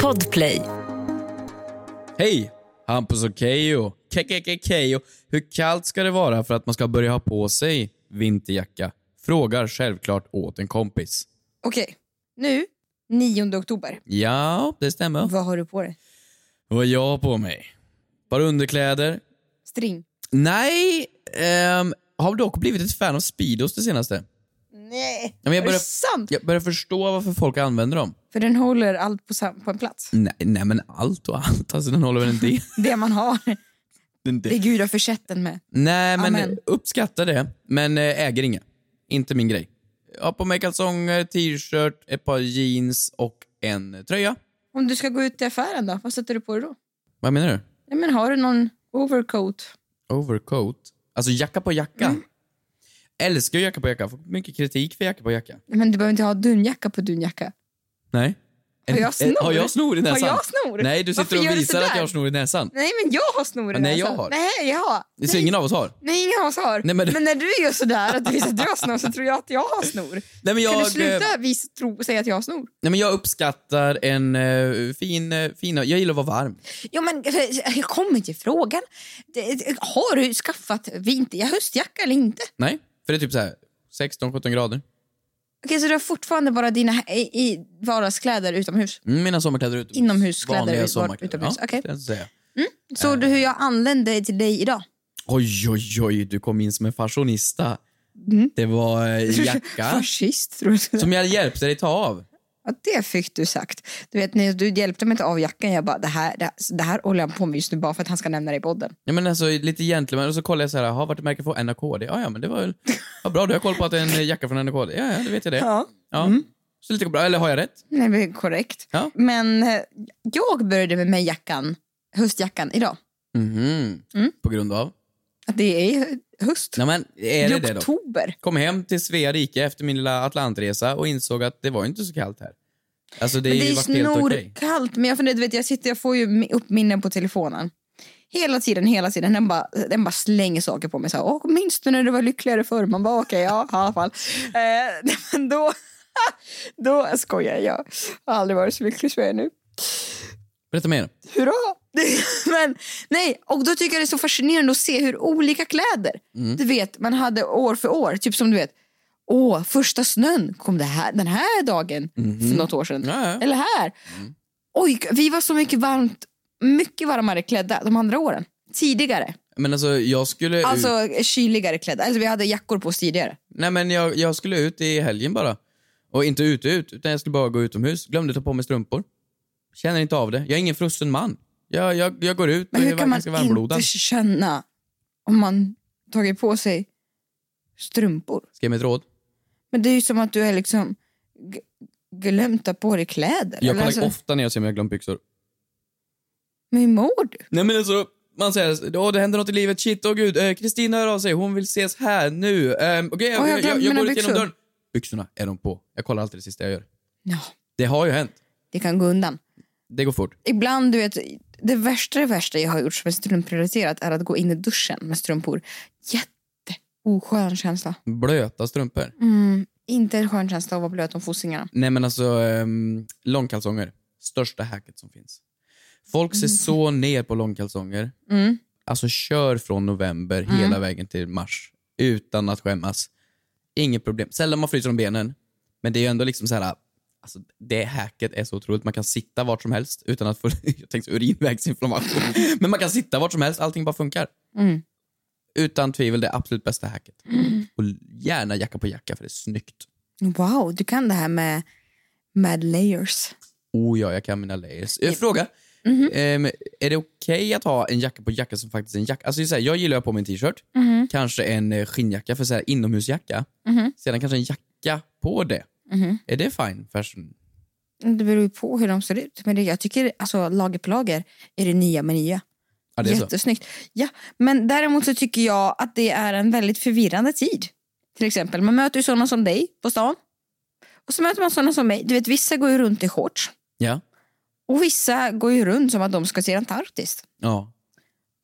Podplay. Hej! Hampus och Keyyo. Kekekekeyyo. Hur kallt ska det vara för att man ska börja ha på sig vinterjacka? Frågar självklart åt en kompis. Okej, nu 9 oktober. Ja, det stämmer. Vad har du på dig? Vad har jag på mig? Bara underkläder? String? Nej, ehm, har dock blivit ett fan av Speedos det senaste. Nej, men jag är det börjar- sant? Jag börjar förstå varför folk använder dem. För den håller allt på, sam- på en plats. Nej, nej men allt och allt. Alltså den håller väl en del. Det man har, En det del. Gud har försett den med. Nej men Amen. uppskattar det, men eh, äger inga. Inte min grej. Jag har på mig kalsonger, t-shirt, ett par jeans och en tröja. Om du ska gå ut i affären då, vad sätter du på dig då? Vad menar du? Nej, men har du någon overcoat? Overcoat? Alltså jacka på jacka? Mm. Älskar ju jacka på jacka. Får mycket kritik för jacka på jacka. Nej, Men du behöver inte ha dunjacka på dunjacka. Nej. Har jag snor? eh, Har jag snor i Har näsan? jag snor? Nej, du Varför sitter gör och du visar sådär? att jag har snor i näsan. Nej, men jag har snor i Ja, nej, näsan. jag har. Nej, jag har. Det ser ingen av oss har. Nej, ingen av oss har. Nej, men- men... när du gör sådär att du visar att du har snor så tror jag att jag har snor. Nej, men jag, kan du eh, sluta visa, tro, säga att jag har snor? Nej, men jag uppskattar en eh, fin, eh, fin... Jag gillar att vara varm. Ja, men jag kommer till frågan. Det- det- Har du skaffat vinter, höstjacka eller inte? Nej, för det är typ så här 16-17 grader. Okej, så du har fortfarande bara dina i, i vardagskläder utomhus? Mm, mina sommarkläder är utomhus. Inomhuskläder Vanliga var- sommarkläder. utomhus, Ja, okej. det kan jag säga. Eh. Såg du hur jag anlände till dig idag? Oj, oj, oj, du kom in som en fashionista. Mm. Det var eh, jacka Fascist, tror du? som jag hjälpte dig ta av. Ja, det fick du sagt. Du vet, när du hjälpte mig inte av jackan. Jag bara, det här, det, här, det här håller han på med just nu bara för att han ska nämna det i podden. Ja, men alltså, lite gentleman. Och så kollade jag så här, "Jaha, vart är märket från? NKD? Ja, ja, men det var väl... Ja, bra, du har koll på att det är en eh, jacka från NKD. Ja, ja, det vet jag det. Ja. Ja. Så lite bra. Eller har jag rätt? Det är väl korrekt. Ja. Men eh, jag började med mig jackan, höstjackan idag. Mhm. Mm. På grund av? Att det är höst. Nej, men är I det det då? oktober. Kom hem till Svea rike efter min lilla Atlantresa och insåg att det var ju inte så kallt här. Alltså det, Men är det ju är varit helt okej. snorkallt. Men jag, funderar, du vet, jag, sitter, jag får ju mi- upp minnen på telefonen. Hela tiden, hela tiden. Den bara, den bara slänger saker på mig. Så här, Åh, minns du när du var lyckligare förr? Man bara, okej, ja, i alla fall. Eh, men då, då skojar jag. Jag har aldrig varit så lycklig som jag är nu. Berätta mer. Hurra! Men, nej, och då tycker jag det är så fascinerande att se hur olika kläder, Mm. du vet, man hade år för år. Typ som du vet, åh, första snön kom det här, den här dagen Mm. för något år sedan. Mm-hmm. Ja, ja. Eller här. Oj, vi var så mycket varmt, mycket varmare klädda de andra åren. Tidigare. Men alltså jag skulle ut... Alltså kyligare klädda. Alltså vi hade jackor på oss tidigare. Nej men jag, jag skulle ut i helgen bara. Och inte ut ut, utan jag skulle bara gå utomhus. Glömde ta på mig strumpor. Känner inte av det. Jag är ingen frusen man. Jag, jag, jag går ut Men och hur är kan man ganska varmblodad. inte känna om man tagit på sig strumpor? Ska jag ge mig ett råd? Men det är ju som att du är liksom g- glömt att på dig kläder. Jag Eller kollar alltså, ofta när jag ser mig glömt byxor. men hur mår du? Nej men alltså, man säger åh det händer något i livet, shit, åh gud, eh, Kristina hör av sig, hon vill ses här nu. Eh, Okej, jag, Åh, jag jag, jag, glömde jag mina går ut genom byxor. dörren. Byxorna är de på. Jag kollar alltid det sista jag gör. Ja, Det har ju hänt. det kan gå undan. Det går fort. Ibland, du vet, det värsta, det värsta jag har gjort som är strumprelaterat är att gå in i duschen med strumpor. Jätteoskön känsla. Blöta strumpor. Mm, inte en skön känsla att vara blöt om fossingarna. Nej men alltså, ehm, långkalsonger. Största hacket som finns. Folk ser så ner på långkalsonger. Mm. Alltså kör från november hela vägen till mars. Utan att skämmas. Inget problem. Sällan man fryser om benen. Men det är ju ändå liksom så här. Alltså, det hacket är så otroligt. Man kan sitta vart som helst utan att få jag tänkte, urinvägsinflammation. Men man kan sitta vart som helst. Allting bara funkar. Mm. Utan tvivel det absolut bästa hacket. Och gärna jacka på jacka för det är snyggt. Wow, du kan det här med, med layers. Oh ja, jag kan mina layers. Eh, Fråga. Ehm, är det okej att ha en jacka på jacka som faktiskt är en jacka? Alltså, det är så här, jag gillar att ha på mig en t-shirt, kanske en eh, skinnjacka för så här, inomhusjacka. Sedan kanske en jacka på det. Är det fine fashion? Det beror ju på hur de ser ut. Men det, jag tycker alltså, lager på lager är det nya med nya. Ja, det är så. Jättesnyggt. Ja, men däremot så tycker jag att det är en väldigt förvirrande tid. Till exempel, man möter ju sådana som dig på stan. Och så möter man sådana som mig. Du vet, vissa går ju runt i shorts. Ja. Och vissa går ju runt som att de ska till Antarktis. ja.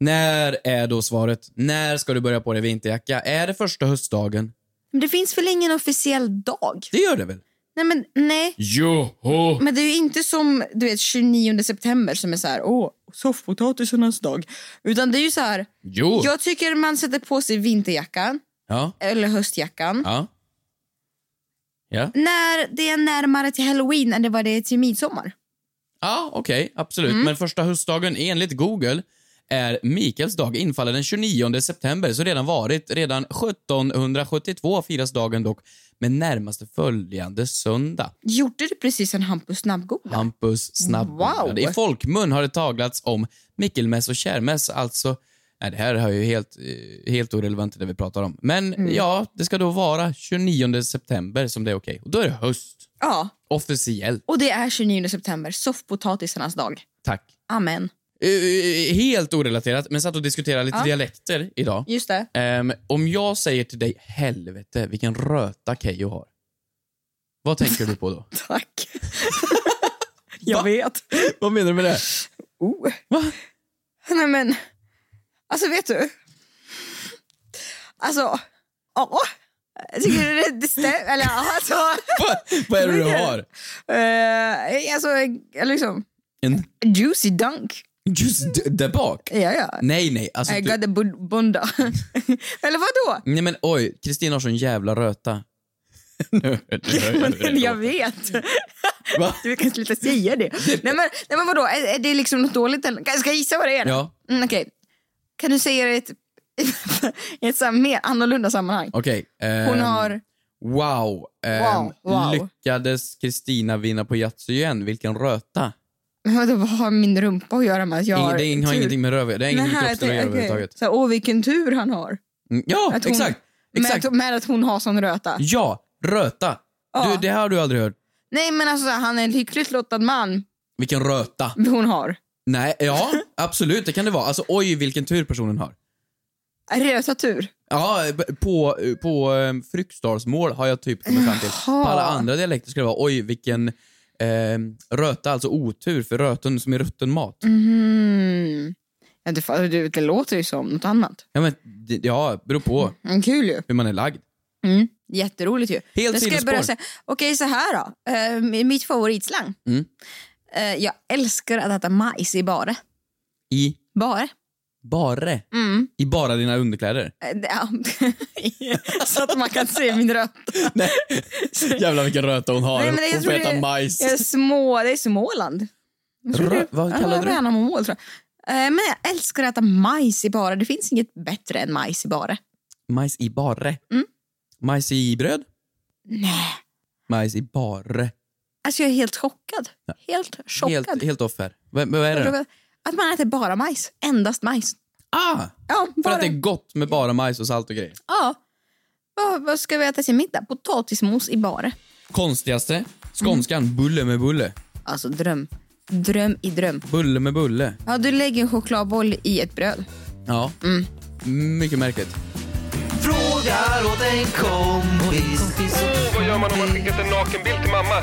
När är då svaret? När ska du börja på dig vinterjacka? Är det första höstdagen? Men det finns väl ingen officiell dag? Det gör det väl? Nej, men nej. Joho! Men det är ju inte som du vet 29 september som är så här, åh, soffpotatisarnas dag. Utan det är ju så här, Jo! jag tycker man sätter på sig vinterjackan Ja. eller höstjackan. Ja. Ja, När det är närmare till halloween än det var det är till midsommar. ja okej, absolut. Men första höstdagen enligt Google är Mikaels dag infaller den 29 september, så redan varit. Redan 1772 firas dagen dock med närmaste följande söndag. Gjorde du precis en Hampus snabbgoogla? Hampus snabb. Wow. I folkmun har det taglats om Mickelmäss och Kärrmäss, alltså... Nej, det här är ju helt, eh, helt orelevant till det vi pratar om. Men ja, det ska då vara 29 september som det är okej. Och då är det höst. Ja, Officiellt. och det är 29 september, soffpotatisarnas dag. Tack. Amen. Eh, eh, Helt orelaterat, men satt och diskuterade lite Ja. dialekter idag. Just det. Ehm, om jag säger till dig, helvete vilken röta Keyyo har. Vad tänker du på då? Tack. jag vet. Vad menar du med det? Oh. Va? Nej men, alltså vet du? Alltså, ja. Tycker du det, det stämmer? Eller ja, alltså. Vad, vad är det du har? Eh, alltså, eh, liksom. En Juicy dunk. just d- där bak? Ja, ja. Nej, nej. Alltså, I du, got the bun- bunda. Eller vadå? nej men oj, Kristina har sån jävla röta. nu, nu hör jag hur Men det jag låter. vet. Va? Du kan sluta säga det. nej, men, nej men vadå, är, är det liksom något dåligt? eller? Ska jag gissa vad det är? då? Ja, Mm, Okej. Kan du säga det i ett, i ett så här mer annorlunda sammanhang? okej. Hon Ehm, har... Wow. Ehm, Wow, wow. Lyckades Kristina vinna på Yatzy igen? Vilken röta. Vadå, vad har min rumpa att göra med att jag Ingen, har det är ing- har tur? ingenting med röv Det är ingenting med Nej, kroppsdel att göra okej. överhuvudtaget. Så, här, åh, vilken tur han har. Mm, Ja, Att hon- Ah. exakt. Med, exakt. Att, med att hon har sån röta. Ja, röta. Ja. Du, det här har du aldrig hört. Nej, men alltså, han är en lyckligt lottad man Vilken röta. hon har. Nej, ja, absolut. Det kan det vara. Alltså, oj, vilken tur personen har. Röta tur. Ja, b- på, på um, Fryksdalsmål har jag typ kommit fram till. Jaha. På alla andra dialekter skulle det vara oj vilken ehm, röta, alltså otur för röten som är rutten mat. Mhm. Ja, det, fa- du, det låter ju som något annat. Ja, men, det- ja, beror på Mm, kul ju. hur man är lagd. Mm. Jätteroligt ju. Helt Nu ska jag sidospår. börja säga, okej så här då. Eh, mitt favoritslang. Mm. Eh, jag älskar att äta majs i bara. I Bara. bare. Mm. I bara dina underkläder. Eh, det- ja. så att man kan se min röta. Nej. Jävlar vilken röta hon har. Nej, men det- jag hon får tror äta det- majs. Jag är små, det är Småland. Jag tror Rö- det- vad ja, kallade jag du det? menar mål, tror jag. Eh, Men jag älskar att äta majs i bara. Det finns inget bättre än majs i bara. Majs i bare. Mm. Majs i bröd. Nej. Majs i bare. Alltså jag är helt chockad. Helt chockad. Helt, helt off här. Vad, vad är det då? Att man äter bara majs. Endast majs. Ah! Ja, För bara. att det är gott med bara majs och salt och grejer. Ja. Vad, vad ska vi äta till middag? Potatismos i bara. Konstigaste? Skånskan, bulle med bulle. Alltså dröm. Dröm i dröm. Bulle med bulle. Ja, du lägger en chokladboll i ett bröd. Ja. Mycket märkligt. Frågar åt en kompis. Vad gör man om man skickat en nakenbild till mamma?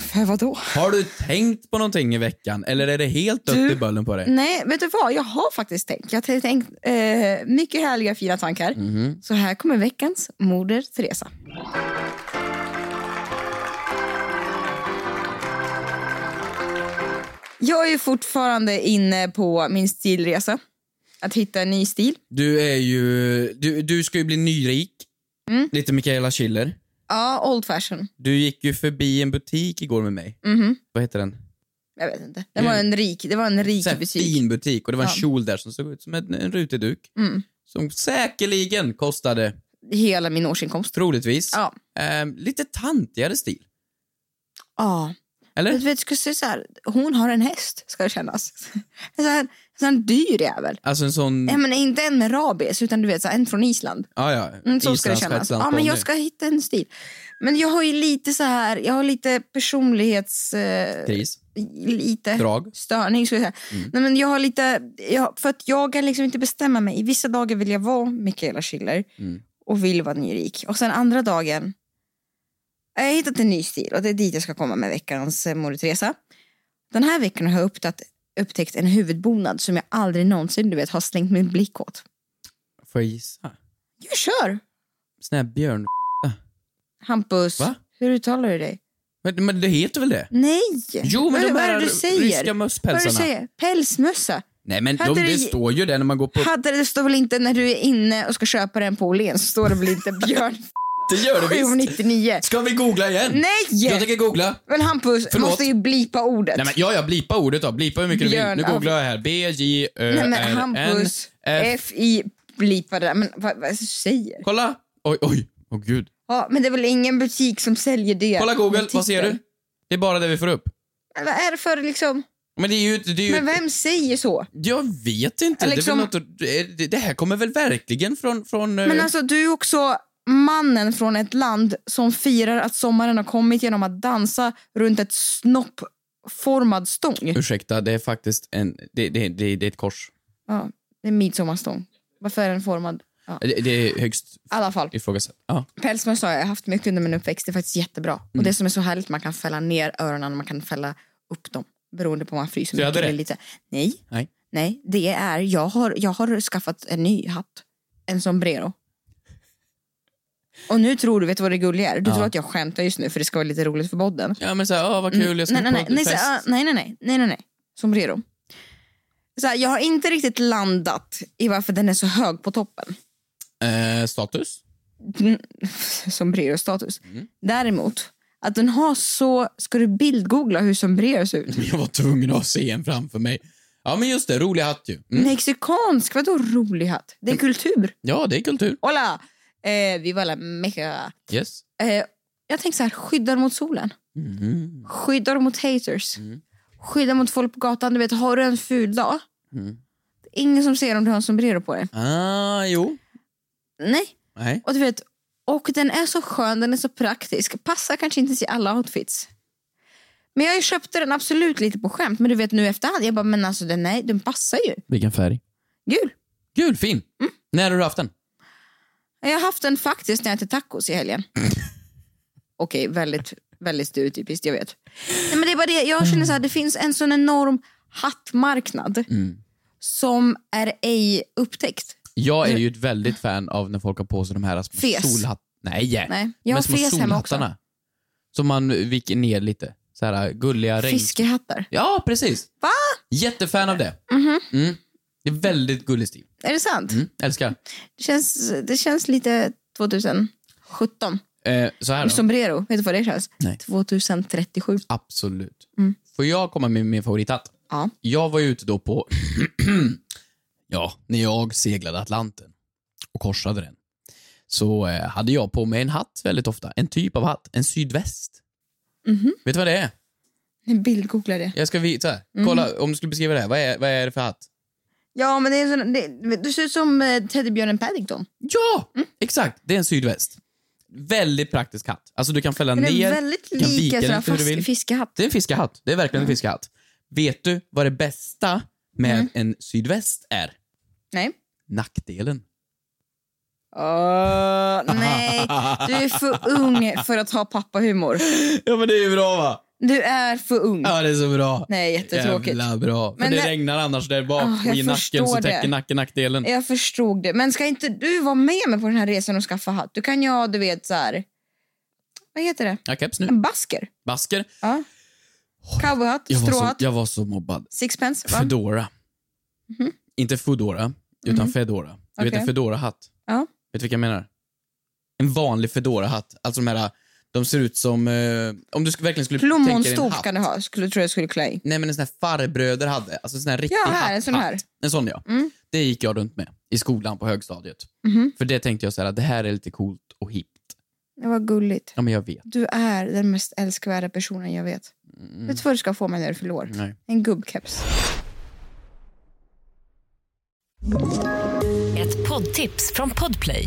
För vadå? Har du tänkt på någonting i veckan eller är det helt dött Du- Mm. i bollen på dig? Nej, vet du vad? Jag har faktiskt tänkt. Jag har tänkt eh, mycket härliga, fina tankar. Mhm. Så här kommer veckans Moder Teresa. Jag är ju fortfarande inne på min stilresa. Att hitta en ny stil. Du är ju... Du, du ska ju bli nyrik. Lite Mikaela Schiller. Ja, old fashion. Du gick ju förbi en butik igår med mig. Mhm. Vad heter den? Jag vet inte. Det var en rik, det var en rik Mm. Så här butik. fin butik och det var en Ja. kjol där som såg ut som en, en rutig duk. Mm. Som säkerligen kostade, Hela min årsinkomst. troligtvis, Ja. ehm, lite tantigare stil. Ja. Eller? Du vet, ska säga så här, hon har en häst, ska det kännas. En sån här, en sån här dyr jävel. Alltså en sån... Nej, men inte en med rabies, utan du vet, så här, en från Island. ja, ja. Mm, så ska det Islands kännas. Shetlands Ja, men jag ponny. ska hitta en stil. Men jag har ju lite så här, jag har lite personlighets... Eh, Kris. lite Drag. störning. Skulle jag, säga. Nej, men jag har lite, jag, för att jag kan liksom inte bestämma mig. I vissa dagar vill jag vara Mikaela Schiller Mm. och vill vara nyrik. Och sen andra dagen, jag har hittat en ny stil och det är dit jag ska komma med veckans eh, Moder Teresa. Den här veckan har jag upptäckt, upptäckt en huvudbonad som jag aldrig någonsin du vet, har slängt min blick åt. Får jag gissa? Jag kör! Sån här björn... Hampus, Va? hur uttalar du dig? Men, men det heter väl det? Nej! Jo, men Mm. vad, de vad är här det du säger? ryska Vad är det du mösspälsarna. säger? Pälsmössa. Nej, men de, Hade det det- står ju det när man går på... Hade det står väl inte när du är inne och ska köpa den på Åhléns så står det väl inte Björn Det gör det visst! 799? Ska vi googla igen? Jag Nej! tänker googla. Men Hampus, Förlåt. måste ju blipa ordet. Nej, men, ja, ja, blipa ordet då. Blipa hur mycket Björn du vill. av- Nu googlar jag här. B, J, Ö, Nej, men R, N, Hampus, F. F-I, blipa det där. Men vad, vad säger? Kolla! Oj, oj. Åh gud. Ja, men det är väl ingen butik som säljer det? Kolla Google, Butiker. vad ser du? Det är bara det vi får upp. Men Vad är det för liksom? Men det är ju... Det är ju Men vem säger så? Jag vet inte. Eller liksom- Det, är väl något, det är- det här kommer väl verkligen från... från eh, Men alltså, du är ju också mannen från ett land som firar att sommaren har kommit genom att dansa runt ett snoppformad stång. Ursäkta, det är faktiskt en... Det, det, det, det är ett kors. Ja, det är midsommarstång. Varför är den formad? Ja. I Eh, Det, det är högst alla fall. ifrågasatt. Ja. Pälsmössa har jag haft mycket under min uppväxt. Det är faktiskt jättebra. Mm. Och det som är så härligt, man kan fälla ner öronen, man kan fälla upp dem. Beroende på om man fryser Så jag mycket hade eller lite. Nej. Nej. Nej, det är, jag har, jag har skaffat en ny hatt. En sombrero. Och nu tror du, vet du vad det gulliga är? Du Ja. tror att jag skämtar just nu för det ska vara lite roligt för bodden. Ja men såhär, åh vad kul, jag ska Mm. nej, nej, nej, på nej, fest. så- ah, nej, nej, nej, nej, nej, nej, sombrero. Så här, jag har inte riktigt landat i varför den är så hög på toppen. eh, status? Mm, sombrero-status. Däremot, att den har så... Ska du bildgoogla hur sombrero ser ut? Jag var tvungen att se en framför mig. Ja men just det, rolig hatt ju. Mm. Mexikansk, vadå rolig hatt? Det är kultur. Ja, det är kultur. Hola! Eh, vi var alla mecka. Yes. Eh, jag tänker så här, skyddar mot solen. Mm. Skyddar mot haters. Mm. Skyddar mot folk på gatan. Du vet, har du en ful dag, Mm. det är ingen som ser om du har en sombrero på dig. Ah, jo. Nej. Nej. Och du vet, och den är så skön, den är så praktisk. Passar kanske inte till alla outfits. Men jag köpte den absolut lite på skämt. Men du vet nu efterhand, jag bara, men alltså den, nej, den passar ju. Vilken färg? Gul. Gul, fin. Mm. När har du haft den? Jag har haft den faktiskt när jag ätit tacos i helgen. Okej, väldigt, väldigt stereotypiskt, jag vet. Nej, men det är bara det, jag känner så här, det finns en sån enorm hattmarknad Mm. som är ej upptäckt. Jag är ju ett väldigt fan av när folk har på sig de här små Fes. solhattarna. Nej, Nej, jag har men små fes hemma också. solhattarna. Som man viker ner lite. Så här gulliga regn... Fiskehattar. Ja, precis. Va? Mhm. Jättefan av det. Mm. Det är väldigt gullig stil. Är det sant? Mm. Älskar. Det, känns, det känns lite 2017. Eh, så här då. Sombrero, vet du vad det känns? Nej. 2037. Absolut. Mm. Får jag komma med min favorithatt? Ja. Jag var ju ute då på... ja, när jag seglade Atlanten och korsade den så eh, hade jag på mig en hatt väldigt ofta. En typ av hatt. En sydväst. Mhm. Vet du vad det är? Bildgoogla det. Jag ska vi, så här, Mhm. kolla, om du skulle beskriva det här. Vad är, vad är det för hatt? Ja, men det är sån, det, du ser ut som eh, teddybjörnen Paddington. Ja! Mm. Exakt. Det är en sydväst. Väldigt praktisk hatt. Alltså du kan fälla Den ner. är väldigt du kan lik vika en den sån här lite hur du fast- vill. fiskehatt. Det är en fiskehatt. Det är verkligen en fiskehatt. Vet du vad det bästa med Mm. en sydväst är? Nej. Nackdelen. Åh, nej, du är för ung för att ha pappahumor. Ja men det är ju bra va? Du är för ung. Ja det är så bra. Nej, jättetråkigt. Jävla bra. För Men det, det- regnar annars där bak Ah, och jag i nacken så förstår täcker det. nacken nackdelen. Jag förstod det. Men ska inte du vara med mig på den här resan och skaffa hatt? Du kan ju ha, du vet, så här... Vad heter det? Ja, keps nu. En basker. Basker. Ja. Cowboyhatt, Jag var, så, stråhatt, jag var så mobbad. sixpence. Va? Mhm. Fedora. Inte Foodora, utan Fedora. Du vet Okej. en Fedora-hatt? Ja. Vet du vilka jag menar? En vanlig Fedora-hatt. Alltså de här, de ser ut som... Eh, om du sk- verkligen skulle tänka dig en Plommonstop hatt. kan du ha, skulle tror jag skulle klä i. Nej men en sån här farbröder hade. Alltså en sån här riktig Ja, här, hatt, en sån här. hatt. En sån ja. Mm. Det gick jag runt med i skolan på högstadiet. Mhm. För det tänkte jag så här, att det här är lite coolt och hippt. Det var gulligt. Ja men jag vet. Du är den mest älskvärda personen jag vet. Vet du vad du ska få mig när du fyller år? Mm. Nej. En gubbkeps. Ett poddtips från Podplay.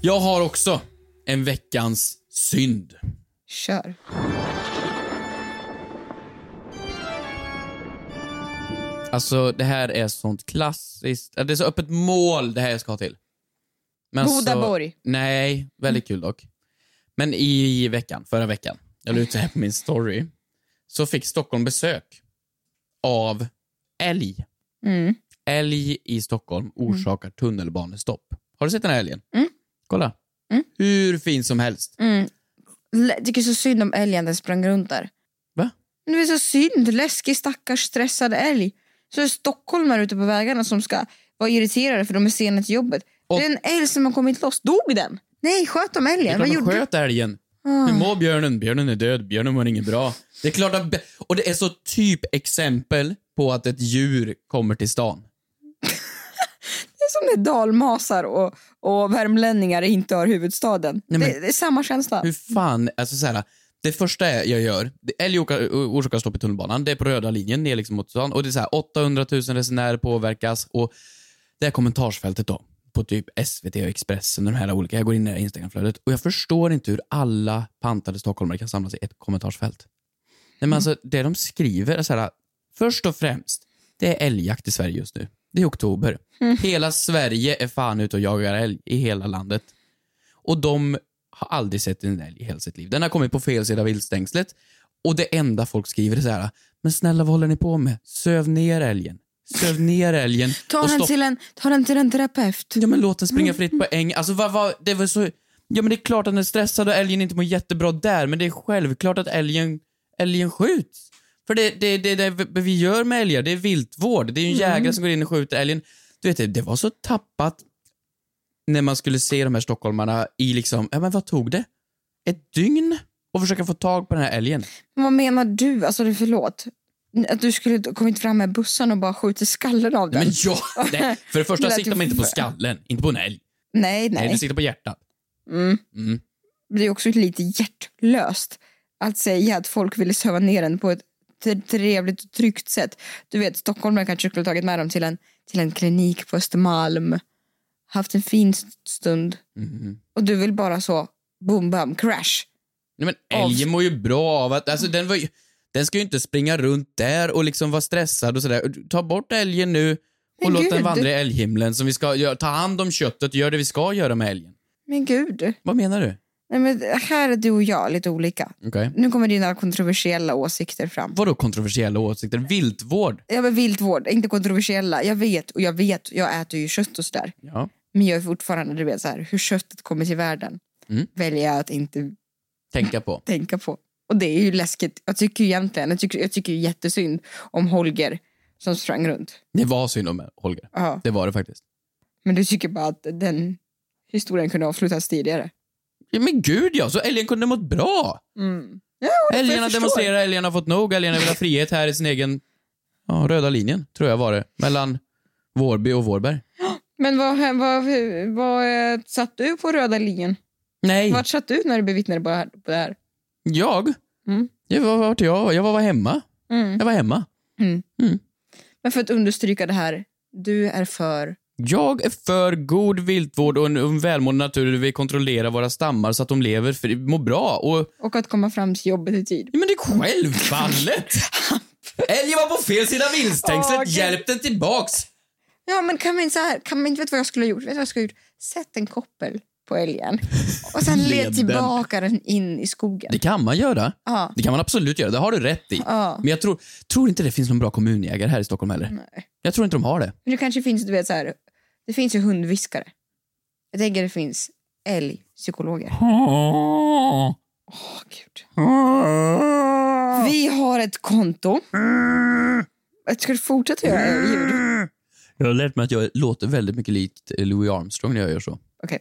Jag har också en veckans synd. Kör. Alltså det här är sånt klassiskt, det är så öppet mål det här jag ska ha till. Men Bodaborg. Så, nej, väldigt kul dock. Men i veckan, förra veckan, jag la ut det här på min story, så fick Stockholm besök av älg. Mm. Älg i Stockholm orsakar tunnelbanestopp. Har du sett den här älgen? Mm. Kolla. Mm. Hur fin som helst. Mm. Lä- Tycker så synd om älgen den sprang runt där. Va? Det är så synd. Läskig stackars stressad älg. Så är det stockholmare ute på vägarna som ska vara irriterade för de är sena till jobbet. Och- Det är en älg som har kommit loss. Dog den? Nej, sköt de Det är älgen? Vad klart de gjorde Ah. sköt älgen. Hur Mm. mår björnen? Björnen är död. Björnen mår inget bra. Det är klart att... Och det är så typ exempel på att ett djur kommer till stan. Det är som när dalmasar och, och värmlänningar inte har huvudstaden. Nej, men- det, det är samma känsla. Hur fan, alltså så här, det första jag gör, det- älg orkar- orsakar stopp i tunnelbanan, det är på röda linjen ner liksom mot stan och det är så här 800 000 resenärer påverkas och det här kommentarsfältet då, på typ SVT och Expressen och de här olika, jag går in i det här Instagramflödet och jag förstår inte hur alla pantade stockholmare kan samlas i ett kommentarsfält. Nej men alltså det de skriver är så här, först och främst, det är älgjakt i Sverige just nu. Det är oktober. Mm. Hela Sverige är fan ute och jagar älg i hela landet. Och de har aldrig sett en älg i hela sitt liv. Den har kommit på fel sida av viltstängslet och det enda folk skriver är så här, men snälla vad håller ni på med? Söv ner älgen. Söv ner älgen. Ta och den, stoppa- till en, ta den till en terapeut. Ja men låt den Mm. springa fritt på äng. Alltså vad var, det var så... Ja men det är klart att den är stressad och älgen inte mår jättebra där, men det är självklart att älgen, älgen skjuts. För det är det, det, det vi- vi gör med älgar, det är viltvård. Det är ju en jägare Mm. som går in och skjuter älgen. Du vet, det, det var så tappat när man skulle se de här stockholmarna i liksom, ja men vad tog det? Ett dygn? Och försöka få tag på den här älgen. Vad menar du? Alltså, det- förlåt. Att du skulle kommit fram med bussen och bara skjutit skallen av den? Nej, men ja! Nej. För det första Det lät siktar ju man inte på för- skallen, inte på en älg. nej, Nej, nej. du siktar på hjärtat. Mm. Mm. Det är också lite hjärtlöst att säga att folk ville söva ner den på ett t- trevligt och tryggt sätt. Du vet, stockholmare kanske skulle ha tagit med dem till en, till en klinik på Östermalm. Haft en fin st- stund. Mhm. Och du vill bara så, boom, bam, crash. Nej, men älgen mår ju bra av att, alltså den var ju, den ska ju inte springa runt där och liksom vara stressad och sådär. Ta bort älgen nu och Men låt den gud. vandra i älghimlen som vi ska göra. Ta hand om köttet, gör det vi ska göra med älgen. Men gud. Vad menar du? Nej, men här är du och jag lite olika. Okej. Nu kommer dina kontroversiella åsikter fram. Vadå kontroversiella åsikter? Viltvård? Jag vill viltvård, inte kontroversiella. Jag vet, och jag vet, jag äter ju kött och sådär. Ja. Men jag är fortfarande, du vet, så här, hur köttet kommer till världen Mm. väljer jag att inte Tänka på. tänka på. Och det är ju läskigt. Jag tycker ju egentligen, jag tycker, jag tycker ju jättesynd om Holger som sprang runt. Det var synd om Holger. Ja. Det var det faktiskt. Men du tycker bara att den historien kunde avslutas tidigare. Ja, men gud ja, så älgen kunde mått bra. Mm. Älgarna jag förstår. demonstrerar, älgarna har fått nog, älgarna vill ha frihet här i sin egen, ja, röda linjen, tror jag var det. Mellan Vårby och Vårberg. Men vad, vad, vad eh, satt du på röda linjen? Nej. Vart satt du när du bevittnade på det här? På det här? Jag? Mm. Jag var, vart jag? var? Jag var, var hemma. Mm. Jag var hemma. Men för att understryka det här, du är för... Jag är för god viltvård och en, en välmående natur där vi kontrollerar våra stammar så att de lever för, mår bra. Och, Och att komma fram till jobbet i tid. ja, men det är självfallet! Älgen var på fel sida viltstängslet. Åh, Gud. Hjälp den tillbaks! Ja, men kan man inte, så här, kan man inte vet du vad jag skulle ha gjort? Vet du vad jag skulle ha gjort? Sätt en koppel på älgen och sen Led den. led tillbaka den in i skogen. Det kan man göra. Ja. Det kan man absolut göra. Det har du rätt i. Ja. Men jag tror, tror inte det finns någon bra kommunjägare här i Stockholm heller. Nej. Jag tror inte de har det. Men det kanske finns, du vet så här, det finns ju hundviskare. Jag tänker det finns älgpsykologer. Åh, gud. Vi har ett konto. Mm. Jag Ska du fortsätta göra ljud? Jag har lärt mig att jag låter väldigt mycket likt eh, Louis Armstrong när jag gör så. Okej.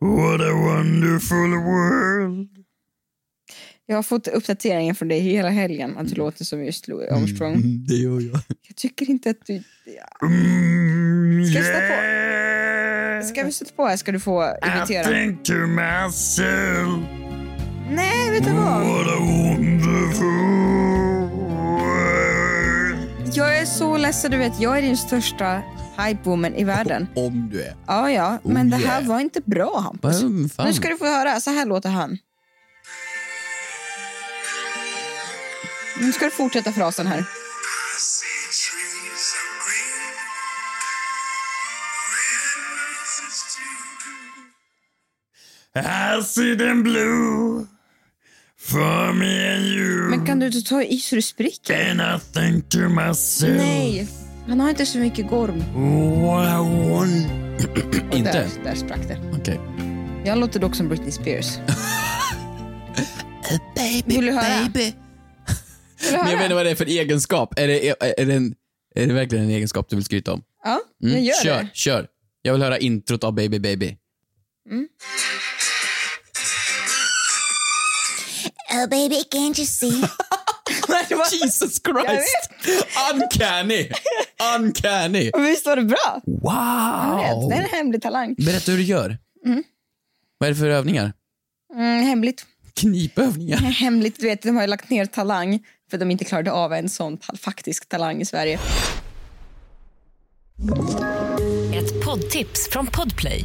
What a wonderful world. Jag har fått uppdateringen från dig hela helgen att du låter som just Louis Armstrong. Mm, Det gör jag. Jag tycker inte att du... Mm, Ska vi sätta på? Ska vi sätta på här ska du få imitera. Think to myself, Nej, vet du vad? what a wonderful world. Jag är så ledsen, du vet. Jag är din största hype-woman i världen. Oh. Om du är. Ja, ja. Men det här yeah. var inte bra, Hampus. Vad fan? Nu ska du få höra. Så här låter han. Nu ska du fortsätta frasen här. I see them blue for me and you. Men kan du inte ta i så du spricker? And I think to myself, Nej, han har inte så mycket gorm. what a wonderful Och Inte? Där, där sprack det. Okej. Jag låter dock som Britney Spears. baby, Vill du höra? Baby. Vill du höra? Men jag vet inte vad det är för egenskap. Är det, är, är det, en, är det verkligen en egenskap du vill skryta om? Ja, jag Mm, gör kör, det. kör. Jag vill höra introt av Baby Baby. Oh, baby, can't you see? det var... Jesus Jag Christ! vet. Uncanny! Uncanny! Och Visst var det bra? Wow! Det är en hemlig talang. Berätta hur du gör. Vad är det för övningar? Mm, hemligt. Knipövningar? Hemligt, du vet, de har ju lagt ner talang för att de inte klarade av en sån tal- faktisk talang i Sverige. Ett poddtips från Podplay.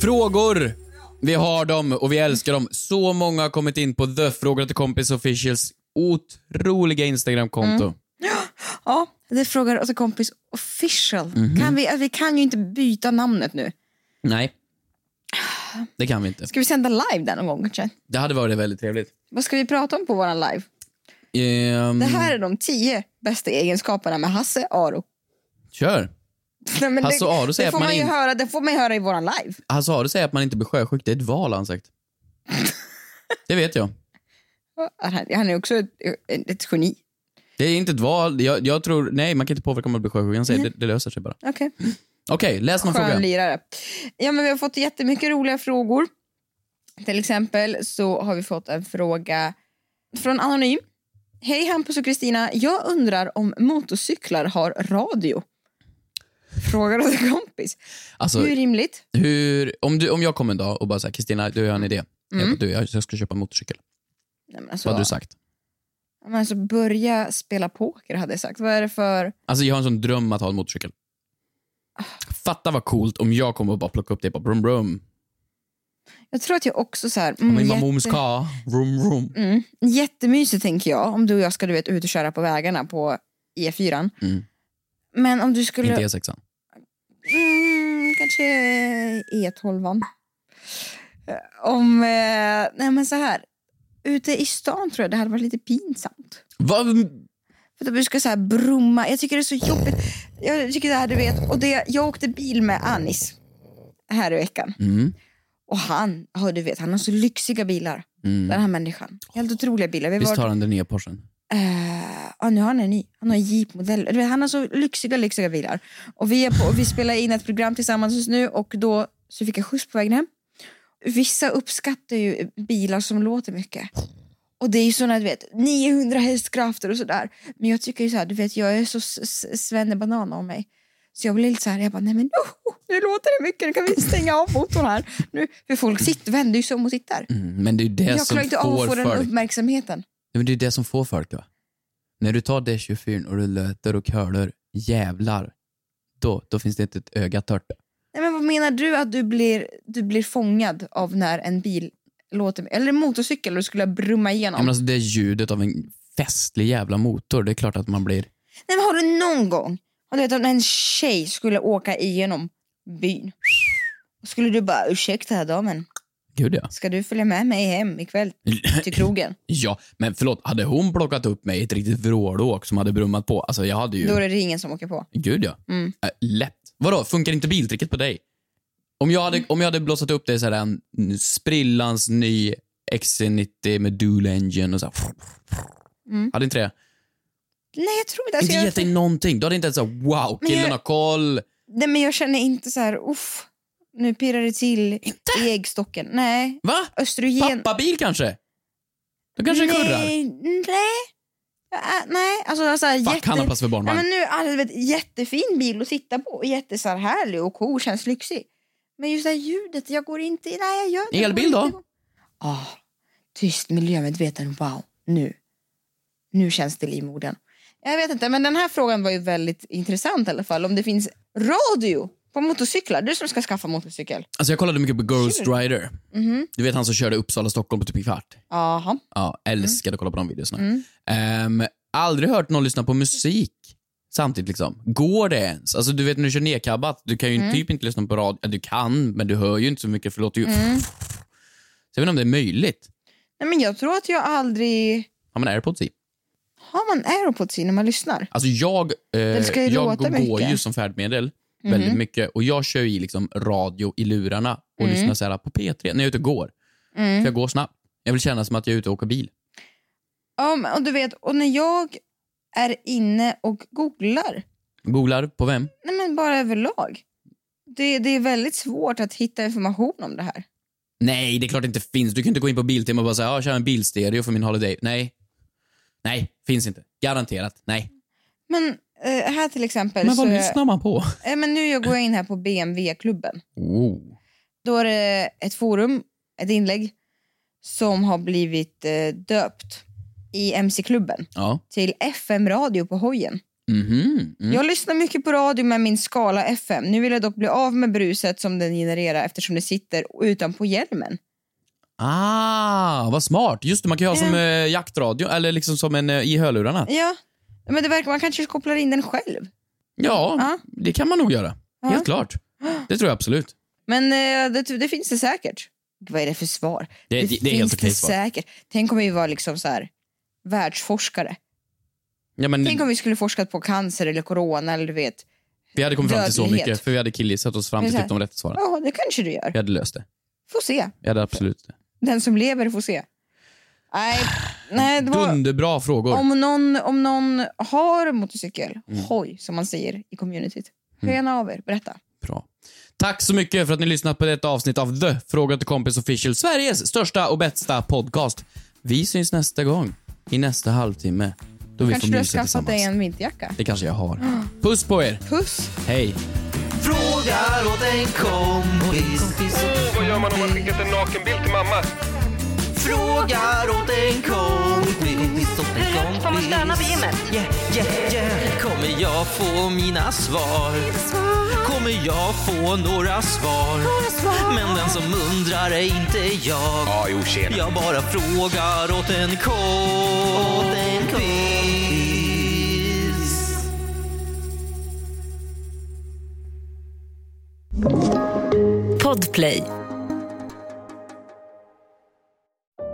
Frågor! Vi har dem och vi älskar dem. Så många har kommit in på The Frågor till Kompis Officials otroliga Instagram-konto. Mm. Ja, det frågar alltså kompis official. Mhm. Kan vi, vi kan ju inte byta namnet nu. Nej. Det kan vi inte. Ska vi sända live där någon gång kanske? Det hade varit väldigt trevligt. Vad ska vi prata om på våran live? Ehm, Det här är de tio bästa egenskaperna med Hasse Aro. Kör. Nej, men Hasse och Aro säger det att får man ju in- höra, det får man ju höra i våran live. Hasse Aro säger att man inte blir sjösjuk. Det är ett val har han sagt. Det vet jag. Han är också ett, ett geni. Det är inte ett val. Jag, jag tror, nej, man kan inte påverka om man blir sjösjuk. Han säger det, det löser sig bara. Okej, Okej, läs någon skön fråga. lirare. Ja, men vi har fått jättemycket roliga frågor. Till exempel så har vi fått en fråga från Anonym. Hej Hampus och Kristina, jag undrar om motorcyklar har radio? Frågar åt en kompis. Alltså, Hur rimligt? hur, om, du, om jag kom en dag och bara säger Kristina, du jag har en idé. Mm. Jag, du, jag jag ska köpa en motorcykel. Nej, men Vad alltså, hade du sagt? ja, men alltså, börja spela poker hade jag sagt. Vad är det för... Alltså jag har en sån dröm att ha en motorcykel. Fatta vad coolt om jag kommer och bara plocka upp det på brum brum. Jag tror att jag också så här... Om Mm, min mamoms jätte- ka, vroom vroom. mm, jättemysigt tänker jag om du och jag ska du vet, ut och köra på vägarna på E4. Mm. Men om du skulle... Inte E E6an. Mm, kanske E12. Eh, Om... Eh, nej men så här. Ute i stan tror jag det hade varit lite pinsamt. Vad? mm, För att du ska så här brumma. Jag tycker det är så jobbigt. Jag tycker det här du vet. Och det, jag åkte bil med Anis här i veckan. Mm. Och han, ja, du vet, han har så lyxiga bilar. Mm. Den här människan. Helt otroliga bilar. Vi Visst var, har han den nya Porschen? Eh, ja, nu har han en ny. Han har en Jeep-modell. Du vet, Han har så lyxiga, lyxiga bilar. Och vi, är på, och vi spelar in ett program tillsammans just nu och då så fick jag skjuts på vägen hem. Vissa uppskattar ju bilar som låter mycket. Och det är ju sådana, du vet, 900 hästkrafter och sådär. Men jag tycker ju så här, du vet, jag är så s- s- svennebanan om mig. Så jag blir lite så här, jag bara, nej men oh, nu låter det mycket, nu kan vi stänga av motorn här. Nu, för folk sitter, vänder ju sig om och tittar. Mm. Men det är ju det Jag som klarar inte av får att få den folk. uppmärksamheten. Nej, men det är det som får folk va? När du tar D24 och du löter och curlar, jävlar, då, då finns det inte ett öga tört. Nej men vad menar du att du blir, du blir fångad av när en bil låter, eller en motorcykel och du skulle brumma Ja, igenom? men alltså, det är ljudet av en festlig jävla motor. Det är klart att man blir... Nej, men har du någon gång, om du vet om en tjej skulle åka igenom byn, skulle du bara ursäkta damen, Gud ja. ska du följa med mig hem ikväll till krogen? Ja, men förlåt. Hade hon plockat upp mig i ett riktigt vrålåk som hade brummat på, alltså jag hade ju... Då är det ingen som åker på. Gud ja. Mm. Äh, lätt. Vadå, funkar inte biltricket på dig? Om jag Mm. hade, om jag hade blåsat upp dig så här en sprillans ny XC90 med dual engine och så här, Mm. Hade inte det? Nej, jag tror inte. Alltså, inte jag, gett dig någonting. Du hade inte ens såhär, wow, Men killen jag- har koll. Nej, men jag känner inte så här, uff, nu pirrar det till i äggstocken. Nej, Va? östrogen. Pappabil kanske? Då kanske det kurrar. nej, nej. Äh, nej, alltså, alltså Fuck, jätte... han har plats för Nej, barnvagn. men nu, alltså, du vet, jättefin bil att sitta på, och jätte så här härlig och cool, känns lyxig. Men just det här ljudet, jag går inte... Nej, jag gör det. Elbil jag går då? inte igång. Ah, tyst, miljömedveten, wow. Nu. Nu känns det liv i orden. Jag vet inte, men den här frågan var ju väldigt intressant i alla fall. Om det finns radio på motorcyklar. Du som ska skaffa motorcykel. Alltså jag kollade mycket på Ghost Kul. Rider. Mhm. Du vet han som körde Uppsala-Stockholm på typ en kvart. Jaha. Ja, älskade att kolla på de videorna. Mm. Ehm, aldrig hört någon lyssna på musik samtidigt. liksom. Går det ens? Alltså Du vet när du kör nedkabbat, du kan ju Mm. typ inte lyssna på radio. Ja, Du kan, men du hör ju inte så mycket för det låter ju... Mm. Så jag vet inte om det är möjligt. Nej, men jag tror att jag aldrig... Har man airpods i? Har man airpods i när man lyssnar? Alltså jag, eh, ska ju jag låta går ju mycket. Mhm. som färdmedel väldigt mycket och jag kör ju i liksom radio i lurarna och Mhm. lyssnar så här på P3 när jag är ute och går. Mm. För jag går snabbt. Jag vill känna som att jag är ute och åker bil. Ja, men, och du vet, och när jag är inne och googlar Googlar på vem? Nej, men bara överlag. Det, det är väldigt svårt att hitta information om det här. Nej, det är klart det inte finns. Du kan inte gå in på Biltema och bara säga, ja, kör en bilstereo för min holiday. Nej. Nej, finns inte. Garanterat. Nej. Men eh, här till exempel... Men vad så lyssnar man på? eh, men nu går jag in här på BMW-klubben. Oh. Då är det ett forum, ett inlägg, som har blivit eh, döpt i MC-klubben Ja. till FM-radio på hojen. Mhm. Mm. Jag lyssnar mycket på radio med min skala FM. Nu vill jag dock bli av med bruset som den genererar eftersom det sitter utanpå hjälmen. Ah, vad smart. Just det, man kan ju ha som eh, jaktradio, eller liksom som en eh, i hörlurarna. Ja, men det verkar man kanske kopplar in den själv. Ja, Ja. det kan man nog göra. Ja. Helt klart. Det tror jag absolut. Men eh, det, det finns det säkert. Gud, Vad är det för svar? Det, det, det är helt okej svar. säkert. Tänk om vi var liksom så här världsforskare. Ja, men, Tänk om vi skulle forskat på cancer eller corona eller du vet. vi hade kommit fram till så dödlighet. mycket, för vi hade killgissat oss fram Men till så typ de rätta svaren. Ja, det kanske du gör. Vi hade löst det. Får se. Vi hade absolut det. Den som lever får se. Nej, nej det var... Dunderbra frågor. Om någon, om någon har motorcykel, Mm. hoj som man säger i communityt. Hör gärna av er, berätta. Bra. Tack så mycket för att ni lyssnat på detta avsnitt av The Fråga till kompis official, Sveriges största och bästa podcast. Vi syns nästa gång, i nästa halvtimme, då vi Kanske får du har mysa skaffat dig tillsammans. en vinterjacka. Det kanske jag har. Puss på er, Puss! hej! Frågar åt en kompis. Åh, vad gör man om man skickat en nakenbild till mamma? Frågar åt en kompis. Hur får man stöna på gymmet? Yeah, yeah, yeah. Kommer jag få mina svar? Kommer jag få några svar? Men den som undrar är inte jag. Ja, jo, tjena. Jag bara frågar åt en kompis. Podplay.